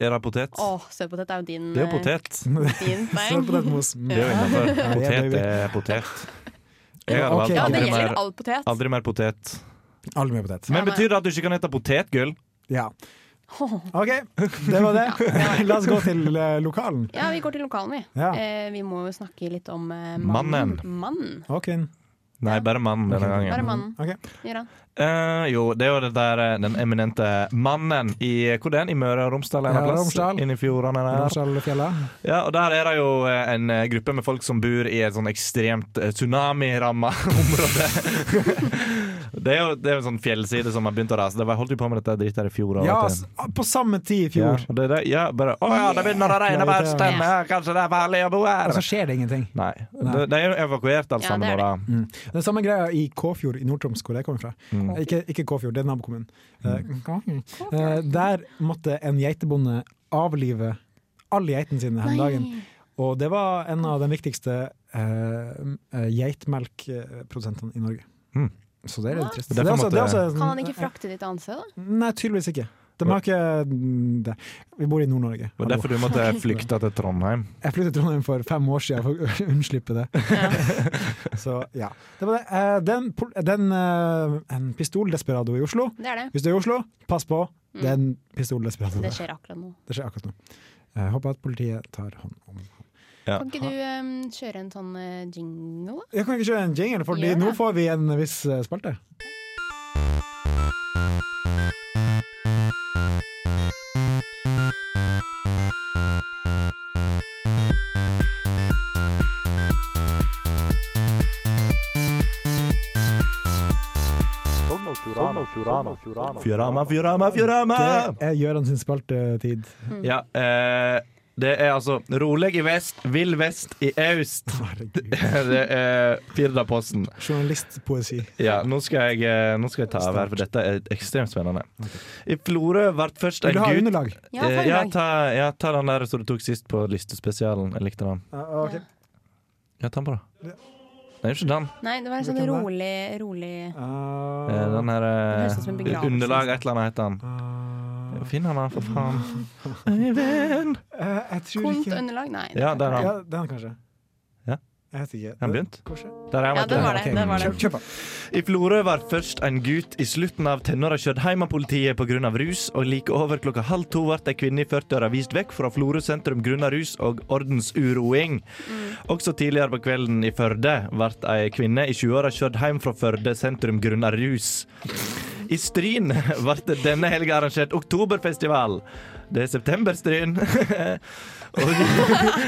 S8: Er det potet?
S7: Å, søtpotet er jo din
S8: Det er jo
S7: eh,
S8: potet.
S7: Din feil.
S9: Søtpotetmos.
S8: Det er jo innenfor.
S9: Ja, det er
S8: Potet
S9: baby.
S8: er potet. Jeg hadde
S9: Ok.
S8: valgt
S9: Ja, det
S8: aldri
S9: gjelder
S8: mer,
S7: all potet.
S8: aldri mer potet.
S9: Aldri mer potet.
S8: Men betyr det at du ikke kan hete potetgull?
S9: Ja. OK, det var det. La oss gå til eh, lokalen.
S7: Ja, vi går til lokalen, vi.
S9: Ja.
S7: Eh, vi må jo snakke litt om eh, mannen.
S8: Mannen.
S7: Mannen.
S9: Og kvinnen.
S8: Nei, bare mannen denne gangen.
S7: Bare mannen.
S9: Okay.
S7: Gjør han.
S8: Eh, jo, det er jo det der eh, den eminente mannen i Hvor er den? I Møre og Romsdal? en
S9: Ja,
S8: plass?
S9: Romsdal.
S8: Inni fjordene der.
S9: Romsdalfjella.
S8: Ja, og der er det jo eh, en eh, gruppe med folk som bor i et sånn ekstremt eh, tsunamiramma område. det, er jo, det er jo en sånn fjellside som har begynt å rase. Det var, holdt jo på med dette dritet her i fjor. og
S9: Ja,
S8: vet
S9: s-
S8: du.
S9: på samme tid i
S8: Ja,
S9: fjor.
S8: og det er det, ja, bare Å ja, det begynner å regne på Østlandet! ja, Kanskje det er farlig å bo her!
S9: Og så skjer det ingenting.
S8: Nei. De, de er jo evakuert, alle
S9: Ja,
S8: sammen.
S9: det er
S8: nå, da.
S9: Mm. Det er samme greia i Kåfjord i Nord-Troms, hvor jeg kommer fra.
S8: Mm.
S9: Eh, Ikke, ikke Kåfjord, det er nabokommunen. Eh, eh, der måtte en geitebonde avlive alle geitene sine her om dagen. Og det var en av de viktigste eh, eh, geitmelkprodusentene i Norge. Så det er litt trist.
S8: Mm. Derfor
S9: Det er
S8: måtte-
S9: det er en-
S7: Kan han ikke frakte ditt annet sted, da?
S9: Nei, tydeligvis ikke. De har ikke mm, det. Vi bor i Nord-Norge.
S8: Det var derfor du måtte
S9: Hallo.
S8: flykte til Trondheim.
S9: Jeg flyttet til Trondheim for fem år siden for å unnslippe det. Så ja. Det var det. Eh, Den, pol- den eh, en pistoldesperado i Oslo.
S7: Det er det.
S9: Hvis du er i Oslo, pass på. Det er en pistoldesperado.
S7: Mm. Det
S9: der.
S7: skjer akkurat nå.
S9: Det skjer akkurat nå. Jeg håper at politiet tar hånd om ham.
S7: Kan ikke du eh, kjøre en sånn eh, jingle?
S9: Jeg kan ikke kjøre en jingle, for
S7: Gjør det.
S9: nå får vi en viss eh, spalte.
S8: Fjorama, Fjorama, Fjorama!
S9: Det er Gøran sin spaltetid.
S8: Ja, eh, det er altså rolig i vest, vill vest i øst. det er eh, Firdaposten.
S9: Journalistpoesi.
S8: Ja, nå skal, jeg, eh, nå skal jeg ta over, for dette er ekstremt spennende. I Florø ble først en
S9: Vil du ha
S8: gutt
S9: underlag?
S8: Ja, ta, Eh, ja, ta, ja, ta den der som du tok sist på listespesialen. Jeg likte den.
S9: Ah, ok.
S8: Ja, ta den på, da. Nei, ikke den.
S7: Nei, det var en sånn
S9: Hvilken da?
S7: rolig, rolig
S8: Eh, Den her
S7: Det høres ut som en
S8: eh,
S7: begravelse. Ah.
S8: Underlag, et eller annet heter den.
S9: eh,
S8: Finn den, da, for faen.
S9: Øyvind! jeg tror
S7: Kondt
S9: Eh, ikke
S7: underlag? Nei. det
S8: Ja,
S7: kan
S8: der
S7: ikke
S8: er
S9: ja,
S8: han.
S9: Den, kanskje. Jeg vet ikke.
S8: Har den begynt?
S9: Kanskje.
S8: Der er
S9: Ja, den var det,
S8: Ok.
S9: den var det. Kjøp- kjøp den.
S8: I Florø var først en gutt i slutten av tenåra kjørt hjem av politiet pga. rus, og like over klokka halv to ble ei kvinne i 40-åra vist vekk fra Florø sentrum grunna rus og ordensuroing. Også tidligere på kvelden i Førde ble ei kvinne i 20-åra kjørt hjem fra Førde sentrum grunna rus. I Stryn ble det denne helga arrangert oktoberfestival. Det er september-Stryn.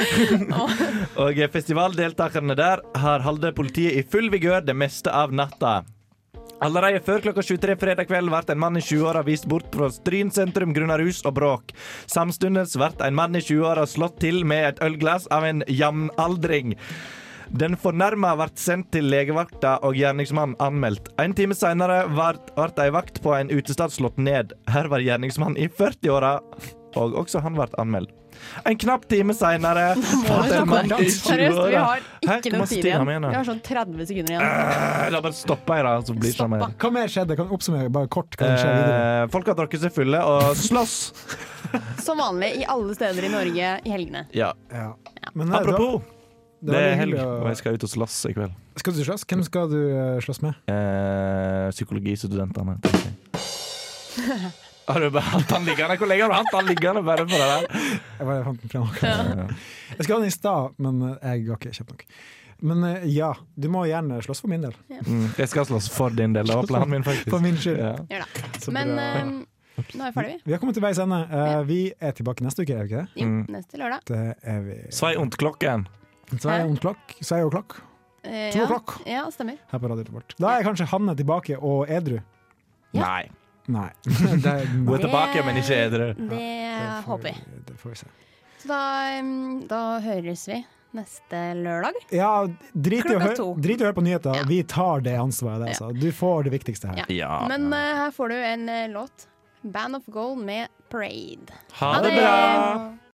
S8: Og festivaldeltakerne der har holdt politiet i full vigør det meste av natta. Allerede før klokka 23 fredag kveld ble en mann i 20-åra vist bort fra Stryn sentrum grunnet rus og bråk. Samtidig ble en mann i 20-åra slått til med et ølglass av en jevnaldring. Den fornærma ble sendt til legevakta og gjerningsmannen anmeldt. En time seinere ble ei vakt på en utested slått ned. Her var gjerningsmannen i 40-åra, og også han ble anmeldt. En knapp time seinere ble en mann i
S14: Seriøst, vi
S8: 20-åra
S14: har
S8: Hæ?
S14: ikke
S8: Hvor
S14: noe
S8: masse
S14: tid
S8: tid
S14: igjen.
S8: har vi igjen, da?
S14: Vi har sånn 30 sekunder igjen.
S8: Eh, La bare stoppe her, da. Så blir det ikke mer.
S9: Hva mer skjedde? Kan du oppsummere bare kort? Hva skjedde videre?
S8: Eh, folk har drukket seg fulle og slåss.
S14: Som vanlig i alle steder i Norge i helgene.
S8: Ja.
S9: Men, eh,
S8: Apropos, det,
S9: det var
S8: er
S9: litt
S8: helg,
S9: hyggelig å-
S8: og jeg skal ut og slåss i kveld.
S9: da, skal du slåss? Hvem skal du eh, slåss med?
S8: Eh, psykologistudentene. tenker jeg. Har du bare hatt han liggende? Hvor lenge har du hatt han liggende bare for det der?
S9: Jeg bare fant den frem akkurat.
S8: Ja.
S9: Jeg skal ha den i stad, men eh, jeg var ikke kjapp nok. Men eh, ja, du må gjerne slåss for min del.
S8: Mm, jeg skal slåss for din del. Det var planen min, faktisk.
S9: For min skyld.
S8: Ja.
S7: Gjør det.
S9: Så
S7: Men
S9: bra.
S7: eh, nå er vi ferdige, vi.
S9: Vi har kommet til veis ende. Eh, Vi er tilbake neste uke, er vi ikke det?
S7: Jo, neste lørdag.
S9: Det er vi.
S8: Svei und klokken.
S9: Svei und klokk. Svei og klokk.
S7: Eh,
S9: To
S7: ja.
S9: o'clock.
S7: Ja, stemmer.
S9: Her på radioen vårt. Da er kanskje Hanne tilbake og edru.
S8: Nei.
S9: Nei. Det er-
S8: Hun er tilbake, men ikke edru.
S7: Det håper vi.
S9: Det får vi se.
S7: Så da, eh, da høres vi neste lørdag.
S9: Ja, drit i, å
S7: Klokka
S9: høre,
S7: to.
S9: drit i å høre på nyheter. Vi tar det ansvaret. Der, altså. Du får det viktigste her.
S7: Men eh, her får du en eh, låt. Band of Gold med Parade.
S9: Ha det bra!